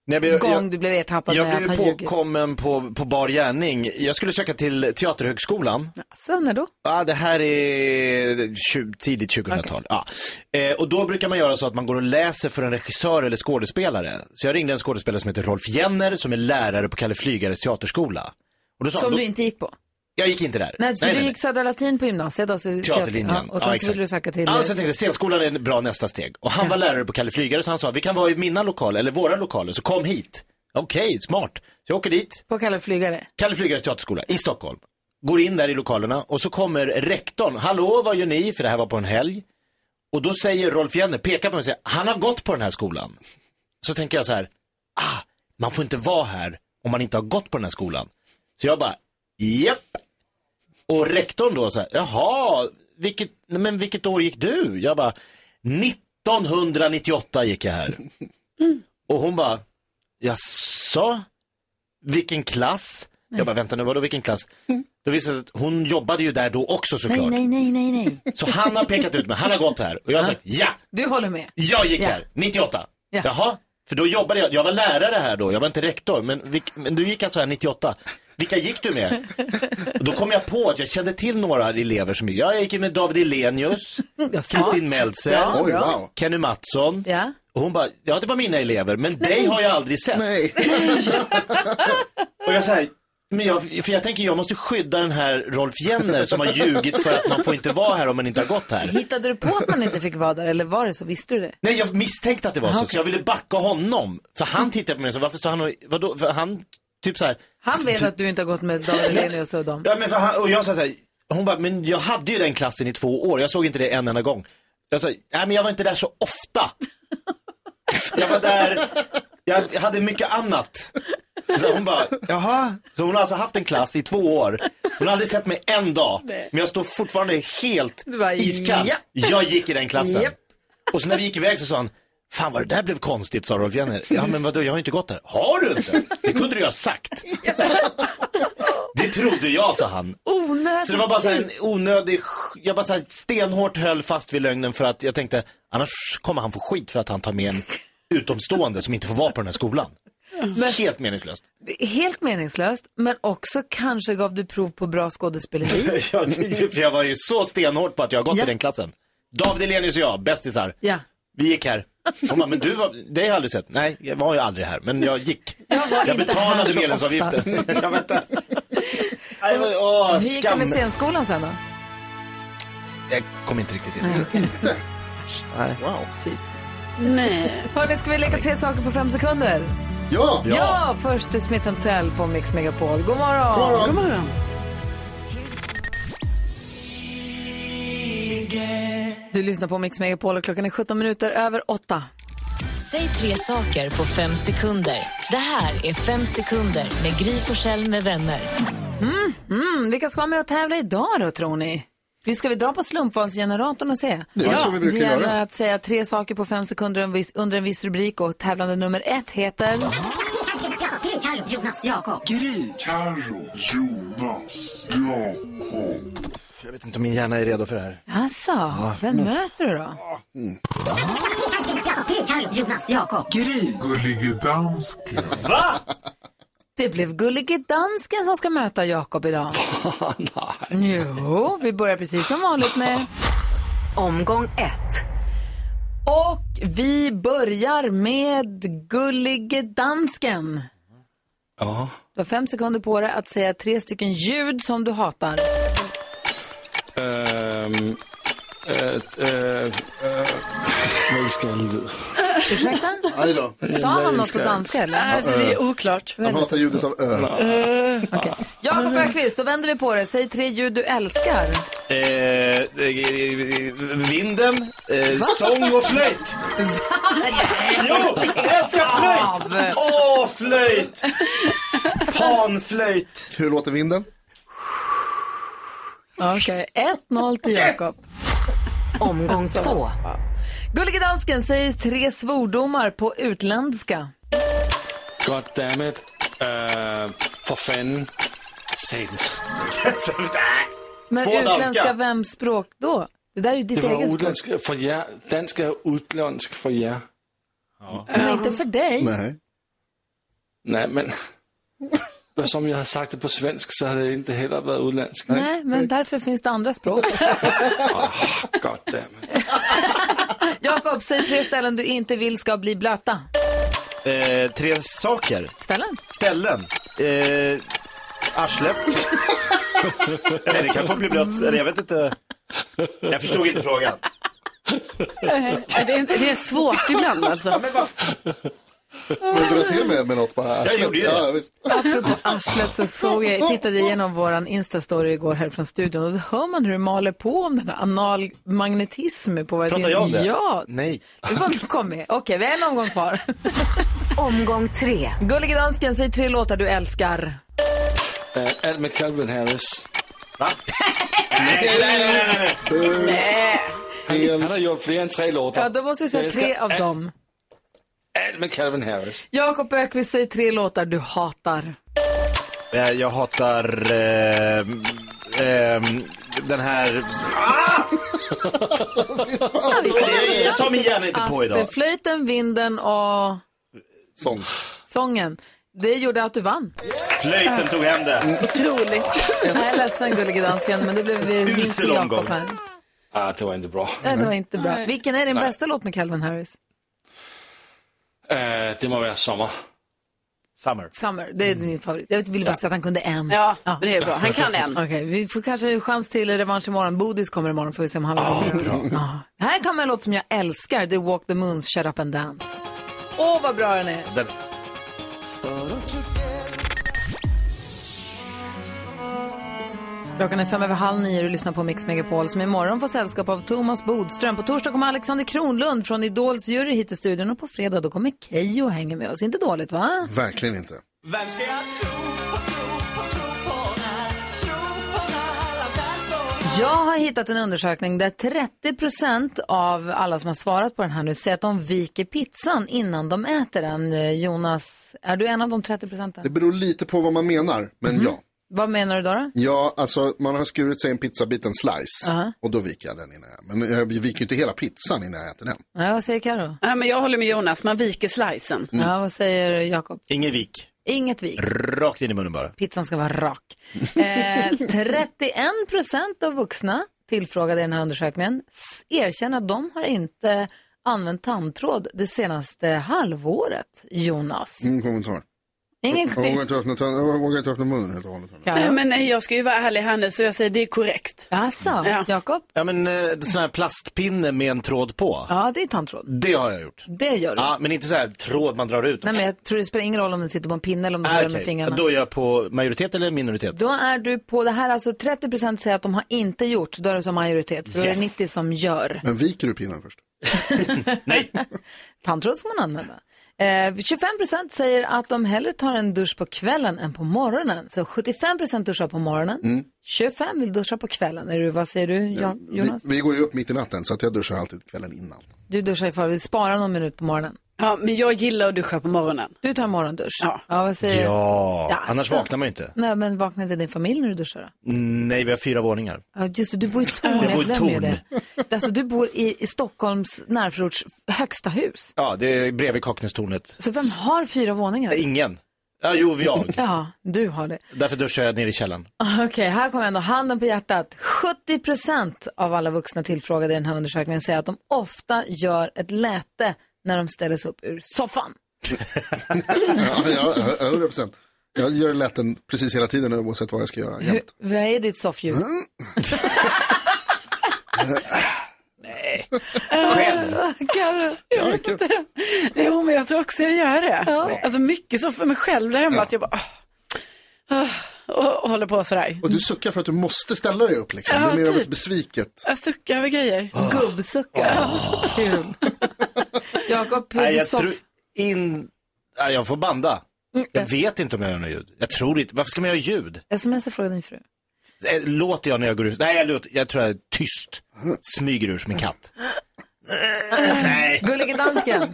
S3: Nej, men jag-
S1: gång
S3: jag-
S1: du blev ertappad
S3: Jag
S1: med att
S3: blev
S1: ha ljugit?
S3: påkommen på, på bar gärning. Jag skulle söka till Teaterhögskolan.
S1: Så när då?
S3: Ja, det här är tju- tidigt 2000-tal. Ja. Eh, och då brukar man göra så att man går och läser för en regissör eller skådespelare. Så jag ringde en skådespelare som heter Rolf Jenner som är lärare på Kalle Flygares teaterskola. Och då sa
S1: Som
S3: han,
S1: du
S3: då,
S1: inte gick på?
S3: jag gick inte där.
S1: Nej, för du gick Södra Latin på gymnasiet. Alltså,
S3: Teaterlinjen.
S1: Ja, och sen så
S3: exakt.
S1: ville du söka till...
S3: Ja, sen tänkte jag, scenskolan är en bra nästa steg. Och han var lärare på Kalle Flygare så han sa, vi kan vara i mina lokaler, eller våra lokaler, så kom hit. Okej, smart. Så jag åker dit,
S1: På Kalle Flygare.
S3: Kalle Flygares teaterskola i Stockholm. Går in där i lokalerna och så kommer rektorn. Hallå, vad gör ni? För det här var på en helg. Och då säger Rolf Jenner, pekar på mig och säger, han har gått på den här skolan. Så tänker jag så här, ah, man får inte vara här om man inte har gått på den här skolan. Så jag bara, japp. Och rektorn då så här, jaha, vilket, nej, men vilket år gick du? Jag bara, 1998 gick jag här. Och hon bara, jaså? Vilken klass? Jag bara, vänta nu, vadå vilken klass? Då visade det sig att hon jobbade ju där då också såklart.
S1: Nej, nej, nej, nej.
S3: Så han har pekat ut mig, han har gått här. Och jag har sagt, ja,
S1: Du håller med.
S3: jag gick
S1: Ja.
S3: här, 98.
S1: Ja.
S3: Jaha, för då jobbade jag, jag var lärare här då, jag var inte rektor, men, vilk, men du gick alltså här 98. Vilka gick du med? Och då kom jag på att jag kände till några elever som, ja, jag gick med David Elenius,
S1: Jag sa.
S3: Kristin Meltzer,
S1: Ja,
S4: Oj, wow.
S3: Kenny Mattsson.
S1: Ja.
S3: Och hon bara, ja det var mina elever, men dig har jag aldrig sett.
S4: Nej,
S3: Och jag säger, men jag, för jag tänker jag måste skydda den här Rolf Jenner som har ljugit för att man får inte vara här om man inte har gått här.
S1: Hittade du på att man inte fick vara där eller var det så? Visste du det?
S3: Nej, jag misstänkte att det var så, så jag ville backa honom. För han tittade på mig och sa, varför står han och, vadå, för han, typ så här.
S1: Han vet att du inte har gått med David Hellenius och dem.
S3: Ja, men för han, och jag sa så här, hon bara, men jag hade ju den klassen i två år, jag såg inte det en enda gång. Jag sa, nej men jag var inte där så ofta. jag var där, jag hade mycket annat. Så hon bara, jaha? Så hon har alltså haft en klass i två år. Hon har aldrig sett mig en dag, men jag står fortfarande helt
S1: Du bara,
S3: iskall.
S1: ja.
S3: Jag gick i den klassen.
S1: Japp.
S3: Och så när vi gick iväg så sa han, fan vad det där blev konstigt, sa Rolf Jenner. Ja men vadå, jag har ju inte gått där. Har du inte? Det kunde du ju ha sagt. Det trodde jag, sa han.
S1: Onödigt.
S3: Så det var bara så här en onödig, sk- jag bara så här stenhårt höll fast vid lögnen för att jag tänkte, annars kommer han få skit för att han tar med en utomstående som inte får vara på den här skolan. Helt meningslöst.
S1: Helt meningslöst, men också kanske gav du prov på bra skådespeleri.
S3: jag, jag var ju så stenhård på att jag har gått
S1: Ja.
S3: i den klassen. David Elenius och jag, bästisar,
S1: Ja.
S3: vi gick här. Hon bara, men du var, det har jag aldrig sett. Nej, jag var ju aldrig här, men jag gick.
S1: Jag var
S3: Jag
S1: inte här
S3: betalade
S1: så ofta.
S3: medlemsavgiften. jag vet inte. Nej, men, åh,
S1: Hur gick det med
S3: skam.
S1: scenskolan sen då?
S3: Jag kom inte riktigt in.
S4: wow.
S1: Hörni, ska vi leka tre saker på fem sekunder?
S4: Ja,
S1: Ja, först till Smith Tell på Mix Megapol. God morgon!
S4: God
S1: morgon! Du lyssnar på Mix Megapol och klockan är 17 minuter över 8.
S7: Säg tre saker på fem sekunder. Det här är Fem sekunder med Gry Forssell med vänner.
S1: Mm, vilka ska vara med och tävla idag då tror ni? Vi ska vi dra på slumpvalsgeneratorn och se?
S4: Det är så vi brukar
S1: det gäller
S4: göra.
S1: att säga tre saker på fem sekunder en viss- under en viss rubrik och tävlande nummer ett heter...
S8: Gry.
S3: Jag vet inte om min hjärna är redo för det här.
S1: Alltså, vem möter du då?
S8: Gry. Gullige dansken.
S1: Det blev Gullige Dansken som ska möta Jakob idag. Jo, vi börjar precis som vanligt med...
S5: Omgång ett.
S1: Och vi börjar med Gullige Dansken.
S3: Ja.
S1: Du har fem sekunder på dig att säga tre stycken ljud som du hatar. Ursäkta?
S4: Aj då.
S1: Sa han något på danska eller?
S2: Alltså, det är oklart.
S4: Han hatar ljudet av ö.
S1: Jakob Öqvist, då vänder vi på det. Säg tre ljud du älskar.
S3: Eh, eh, vinden, eh, sång och flöjt. jo, jag älskar flöjt. Åh, flöjt. Panflöjt.
S4: Hur låter vinden?
S1: Okej, 1-0 till Jakob.
S5: Omgång två.
S1: Gullige Dansken, säg tre svordomar på utländska.
S9: God damn it. Uh, for fanden. Satans.
S1: Men
S3: Två
S1: utländska,
S3: danska.
S1: vems språk då? Det där är ju ditt
S9: Det var
S1: eget språk.
S9: utländsk för jer. Dansk är utländsk för jer.
S1: Men inte för dig.
S4: Nej.
S9: Nej, men som jag har sagt det på svenska så hade det inte heller varit utländskt.
S1: Nej, men därför finns det andra språk.
S9: Gott damn.
S1: Jakob, säg tre ställen du inte vill ska bli blöta.
S3: Eh, tre saker.
S1: Ställen?
S3: Ställen. Eh, arslet. Nej, det kan få bli blött. Eller jag vet inte. Jag förstod inte frågan.
S2: Ja, Det är, det är svårt ibland alltså.
S4: Men dra till med, med något bara.
S3: Jag gjorde ju
S4: ja,
S3: det.
S4: visst.
S1: Apropå arslet så såg jag, tittade igenom våran Insta-story igår här från studion och då hör man hur du maler på om den här analmagnetism på vad
S3: Pratar jag om det?
S1: Ja,
S3: Nej.
S1: det var kommit. Okej, vi har en omgång kvar.
S5: Omgång tre.
S1: Gullige dansken, säg tre låtar du älskar.
S9: Eh, Allt med Calvin Harris. Han, han har gjort fler än tre låtar.
S1: Ja, då måste du
S9: Jag
S1: säga
S9: älskar
S1: tre av
S9: allt-
S1: dem.
S3: Eh,
S9: Allt med Calvin Harris.
S1: Jakob Ökvist, säg tre låtar du hatar.
S3: Eh, jag hatar eh, eh, den här... Ah! Det- Jag sa min hjärna inte på
S1: Det är
S3: idag.
S1: flöjten, vinden och
S4: Sånt.
S1: sången. Det gjorde att du vann.
S3: Flöjten tog hem
S9: Mm.
S3: det.
S2: Otroligt.
S1: Jag är ledsen gullige dansken, men det blev vinst till
S3: Usel
S1: Jakob
S3: omgång.
S1: här.
S9: Ah, det var inte bra.
S1: Nej, det var inte bra.
S2: Nej.
S1: Vilken är din
S9: Nej.
S1: bästa låt med Calvin Harris?
S9: Eh, det må vara sommar.
S3: Summer.
S1: Summer, det är din favorit. Jag ville bara säga att han kunde en.
S2: Ja, men det är bra. Han kan en.
S1: Okej, vi får kanske en chans till revansch imorgon. Bodis kommer imorgon, får vi se om han vill oh, bra. Här kommer en låt som jag älskar, det är Walk the Moons Shut Up and Dance. Åh, vad bra den är.
S3: Den.
S1: Klockan är fem över halv nio och du lyssnar på Mix Megapol som imorgon får sällskap av Thomas Bodström. På torsdag kommer Alexander Kronlund från Idols jury hit till studion och på fredag då kommer Keyyo och hänger med oss. Inte dåligt va?
S4: Verkligen inte.
S1: Jag har hittat en undersökning där 30 av alla som har svarat på den här nu säger att de viker pizzan innan de äter den. Eh, Jonas, är du en av de 30
S4: Det
S1: procenten?
S4: beror lite på vad man menar, men ja.
S1: Vad menar du då? då?
S4: Ja, alltså man har skurit sig en pizzabit, en slice,
S1: Aha.
S4: och då viker jag den innan jag, men jag viker ju inte hela pizzan innan jag äter den.
S1: Nej, vad säger Karo?
S2: Ja, men jag håller med Jonas, man viker slicen.
S1: Ja, vad säger Jakob?
S3: Ingen vik.
S1: Inget vik.
S3: Rakt in i munnen bara.
S1: Pizzan ska vara rak. Eh, 31 procent av vuxna tillfrågade i den här undersökningen s- erkänner att de har inte använt tandtråd det senaste halvåret, Jonas.
S4: Ingen kommentar.
S1: Ingen
S4: Jag vågar
S1: skit.
S4: inte öppna, tön- jag vågar inte öppna munnen helt och hållet.
S2: Nej, men nej, jag ska ju vara ärlig här nu, så jag säger det är korrekt.
S1: Jaså,
S2: Ja.
S1: Jakob?
S3: Ja men eh, sån här plastpinne med en tråd på.
S1: Ja, det är tandtråd.
S3: Det har jag gjort.
S1: Det gör du.
S3: Ja, men inte så här tråd man drar ut.
S1: Nej, men jag tror det spelar ingen roll om den sitter på en pinne eller om du
S3: Ah,
S1: har den
S3: okej.
S1: med fingrarna.
S3: Då är jag på majoritet eller minoritet?
S1: Då är du på det här, alltså 30% säger att de har inte gjort, då är det som majoritet. För då är
S3: Yes.
S1: det 90% som gör.
S4: Men viker du pinnen först?
S3: Nej.
S1: Tandtråd ska man använda. Eh, 25% säger att de hellre tar en dusch på kvällen än på morgonen. Så 75% duschar på morgonen,
S3: Mm.
S1: 25% vill duscha på kvällen. Är du, vad säger du, ja,
S4: Vi,
S1: Jonas?
S4: vi går ju upp mitt i natten, så att jag duschar alltid kvällen innan.
S1: Du duschar ifall du sparar någon minut på morgonen.
S2: Ja, men jag gillar att duscha på morgonen.
S1: Du tar morgondusch.
S2: Ja.
S1: vad säger
S3: Ja,
S1: Ja,
S3: annars
S1: alltså.
S3: vaknar man ju inte.
S1: Nej, men vaknar inte din familj när du duschar då?
S3: Nej, vi har fyra våningar.
S1: Ja, just det, du bor i Torn.
S3: Jag
S1: Jag
S3: bor i
S1: glömmer ju
S3: Torn.
S1: det. Alltså, du bor i, i Stockholms närförorts högsta hus.
S3: Ja, det är bredvid Kaknästornet.
S1: Så vem har fyra våningar?
S3: Ingen. Ja, jo, jag.
S1: Ja, du har det.
S3: Därför duschar jag nere i källaren.
S1: Okej, här kommer ändå handen på hjärtat. 70 procent av alla vuxna tillfrågade i den här undersökningen säger att de ofta gör ett läte när de ställer sig upp ur soffan.
S4: Ja, ja, ö- över procent. Jag gör lätten precis hela tiden oavsett vad jag ska göra.
S1: Hur,
S4: jämt.
S1: vad är ditt soffljud?
S3: Mm. Själv.
S1: Karo,
S4: Ja, det är kul.
S2: Jo, men jag tror också jag gör det. Alltså mycket så för mig själv där hemma, att jag bara... ah, ah, Och, och håller på sådär.
S4: Och du suckar för att du måste ställa dig upp liksom. Det är
S2: Ja,
S4: mer av
S2: typ.
S4: ett besviket.
S2: Jag suckar över grejer.
S1: gubbsuckar. Kul. Jakob, hur är
S3: Ah. Nej,
S1: ditt
S3: jag tror
S1: soff...
S3: in... Nej, jag får banda. Jag vet inte om jag gör något ljud. Jag tror inte. Varför ska man göra ljud?
S1: Sms frågade din fru.
S3: Eh, Låter jag när jag går ut? Nej, jag, låter... jag tror jag är tyst. Smyger ur som en katt. Nej.
S1: Gullige dansken.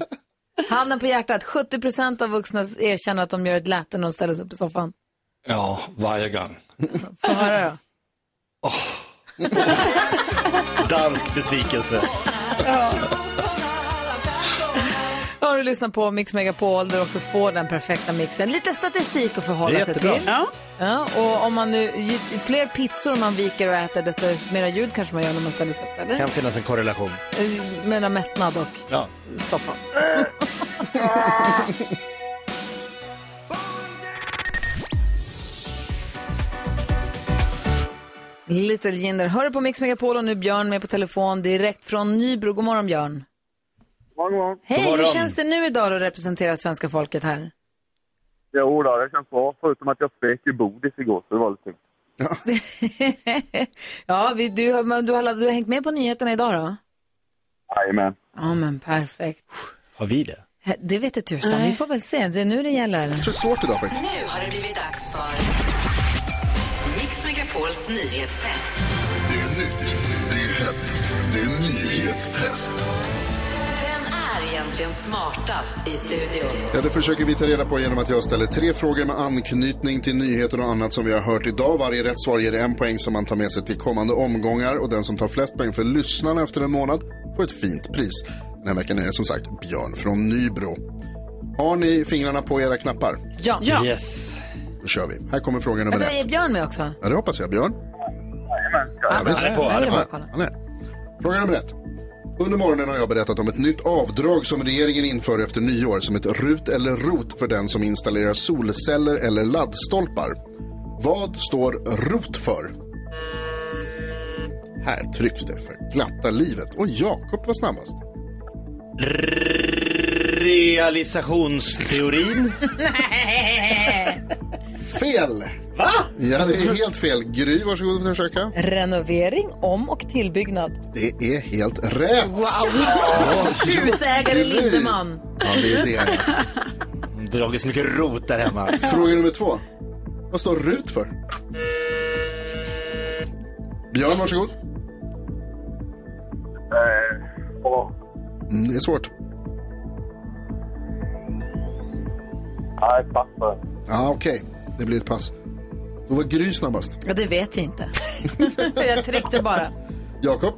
S1: Handen på hjärtat. 70 av vuxna erkänner att de gör ett läte när de ställer sig upp i soffan.
S9: Ja, varje gång.
S1: Få höra då.
S3: Dansk besvikelse.
S1: Har du lyssnar på Mix Megapol där du också får den perfekta mixen. Lite statistik att förhålla sig
S10: Jättebra.
S1: till.
S10: Ja.
S1: Ja, och om man nu, ju fler pizzor man viker och äter desto mera ljud kanske man gör när man ställer sig upp.
S3: Det
S1: Eller?
S3: kan finnas en korrelation.
S1: Eh, Mellan mättnad och
S3: Ja.
S1: soffan. Little Jinder, hör du på Mix Megapol och nu Björn med på telefon direkt från Nybro. God morgon Björn.
S11: God
S1: Hej, hur
S11: morgon.
S1: känns det nu idag att representera svenska folket här?
S11: Jo då, det känns bra. Förutom att jag spek i bodis igår, så det var lite tungt.
S1: Ja, vi, du, har- men du, har, du har hängt med på nyheterna idag då?
S11: Jajamän.
S1: Ja, men perfekt.
S3: Har vi det?
S1: Det vet jag tusan, vi får väl se. Det är nu det gäller.
S4: Jag tror det är svårt idag faktiskt.
S5: Nu har det blivit dags för Mix Megapols nyhetstest.
S12: Det är nytt, det är hett, det är nyhetstest.
S5: Vem är egentligen smartast i studion?
S4: Ja, det försöker vi ta reda på genom att jag ställer tre frågor med anknytning till nyheter och annat som vi har hört idag. Varje rätt svar ger en poäng som man tar med sig till kommande omgångar och den som tar flest poäng för lyssnarna efter en månad får ett fint pris. Den här veckan är det som sagt Björn från Nybro. Har ni fingrarna på era knappar?
S1: Ja.
S3: Yes.
S4: Då kör vi. Här kommer fråga nummer
S1: Vänta,
S4: ett.
S1: är Björn med också?
S4: Ja, det hoppas jag. Björn?
S1: Ja,
S4: visst.
S1: han är på, han är på.
S4: Ja, han är. Fråga nummer ett. Under morgonen har jag berättat om ett nytt avdrag som regeringen inför efter nyår som ett RUT eller ROT för den som installerar solceller eller laddstolpar. Vad står ROT för? Här trycks det för glatta livet och Jakob var snabbast.
S3: Realisationsteorin.
S4: Fel! Va? Ja, det är helt fel. Gry, varsågod och försöka.
S1: Renovering, om och tillbyggnad.
S4: Det är helt rätt.
S1: Husägare
S4: Gry.
S1: Lindeman.
S4: Ja, det är det.
S3: Dragit så mycket rot där hemma.
S4: Fråga nummer två. Vad står RUT för? Björn, varsågod. Mm, det är svårt.
S11: Nej, pappa.
S4: ah, okej. Det blir ett pass. Då var Gry snabbast.
S1: Ja, det vet jag inte. jag tryckte bara.
S4: Jakob?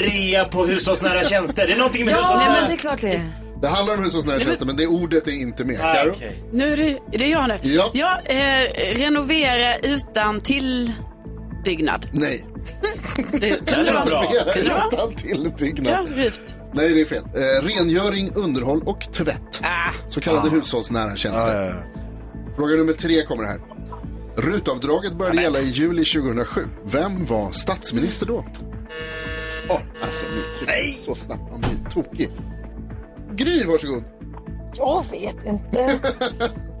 S3: Rea på hushållsnära tjänster. Det är någonting med
S1: Ja,
S3: hushållsnära.
S1: men det är klart det är.
S4: Det handlar om hushållsnära tjänster, men det ordet är inte med.
S3: Ah,
S4: Karo?
S3: okej.
S2: Nu är det, är det jag nu.
S4: Ja.
S2: eh, renovera utan tillbyggnad.
S4: Nej.
S2: Det kunde vara Kunde det vara?
S4: Utan tillbyggnad.
S2: Ja, rut.
S4: Nej, det är fel. Eh, rengöring, underhåll och tvätt. Så kallade
S3: Ah.
S4: hushållsnära tjänster. Fråga nummer tre kommer här. Rutavdraget började gälla i juli 2007. Vem var statsminister då? Åh, alltså nu trycker jag så snabbt. Man blir tokig. Gry, varsågod.
S1: Jag vet inte.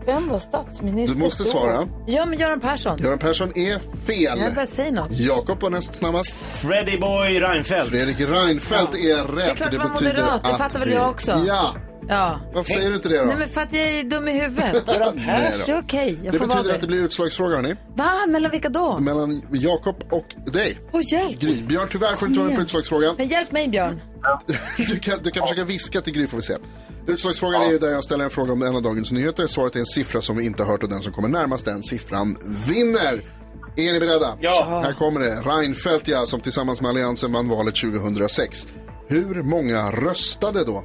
S1: Vem var statsminister?
S4: Du måste
S1: då?
S4: svara.
S1: Ja, men Göran Persson.
S4: Göran Persson är
S1: Jag
S4: fel.
S1: bara säger något.
S4: Jakob var näst snabbast.
S3: Freddy Boy Reinfeldt.
S4: Fredrik Reinfeldt är rätt.
S1: Det är klart
S4: och
S1: det var
S4: betyder
S1: moderat, det
S4: att
S1: fattar väl
S4: vi-
S1: jag också.
S4: Ja.
S1: Ja.
S4: Varför säger du inte det då?
S1: Nej, men för att jag är dum i huvudet.
S4: Göran Persson.
S1: Det är okej, jag
S4: det
S1: får vara
S4: betyder att
S1: det.
S4: det blir utslagsfråga, hörni.
S1: Va, mellan vilka då?
S4: Mellan Jakob och dig.
S1: Åh, hjälp!
S4: Gry. Björn, tyvärr får du inte vara med på
S1: igen.
S4: utslagsfrågan.
S1: Men hjälp mig, Björn.
S4: Du kan, du kan försöka viska till Gry får vi se. Utslagsfrågan är ju där jag ställer en fråga om en av dagens nyheter. Svaret är en siffra som vi inte har hört och den som kommer närmast den siffran vinner. Är ni beredda? Ja. Här kommer det. Reinfeldt ja, som tillsammans med Alliansen vann valet 2006. Hur många röstade då?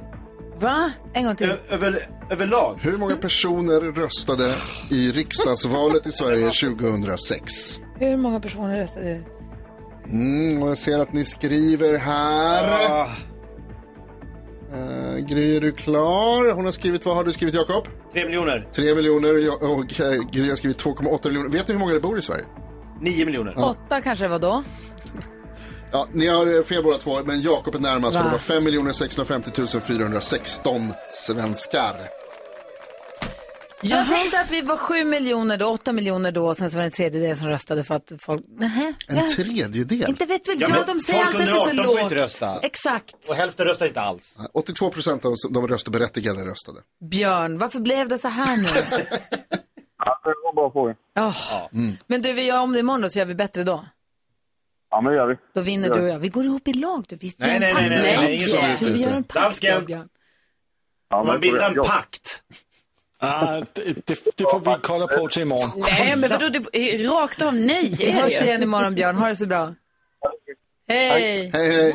S1: Va? En gång till.
S3: Över, överlag?
S4: Hur många personer röstade i riksdagsvalet i Sverige 2006?
S1: Hur många personer röstade?
S4: Mm, och jag ser att ni skriver här. Eh, Gry, är du klar? Hon har skrivit, vad har du skrivit Jakob?
S3: Tre miljoner.
S4: 3 miljoner jag- och eh, Gry har skrivit 2,8 miljoner. Vet ni hur många det bor i Sverige?
S3: Nio miljoner.
S4: Ja.
S1: Åtta kanske det var då.
S4: Ja, ni har eh, fel båda två, men Jakob är närmast för
S1: Va?
S4: det var 5 650 416 svenskar.
S1: Jag tänkte att vi var sju miljoner då, åtta miljoner då, och sen så var det en tredjedel som röstade för att folk... Nähä.
S4: En
S1: ja.
S4: tredjedel?
S1: Inte vet väl
S3: Ja,
S1: jag,
S3: men
S1: de säger
S3: folk
S1: alltid att det
S3: under
S1: är så
S3: 18 får
S1: lågt.
S3: inte rösta.
S1: Exakt.
S3: Och hälften röstar inte alls.
S4: 82 procent av de röstberättigade röstade.
S1: Björn, varför blev det så här nu?
S11: Det var en bra fråga.
S1: Åh. Men du, vi gör om det imorgon då, så gör vi bättre då.
S11: Ja, men det gör vi.
S1: Då vinner
S11: Det gör
S1: du och jag. Vi går ihop i lag, du visst.
S11: Nej, nej, nej, nej, nej, nej, ingen sån
S1: Vi gör
S11: utbyte.
S1: en pakt då,
S11: Dansken.
S1: Björn.
S11: Ja,
S9: Man bildar en
S11: jag-
S3: pakt.
S9: Ah, det, det, det får vi kolla på till imorgon.
S2: Nej, men vadå, det är rakt av nej.
S1: Vi hörs igen imorgon, Björn. Ha det så bra. Hej!
S4: Hej, hej.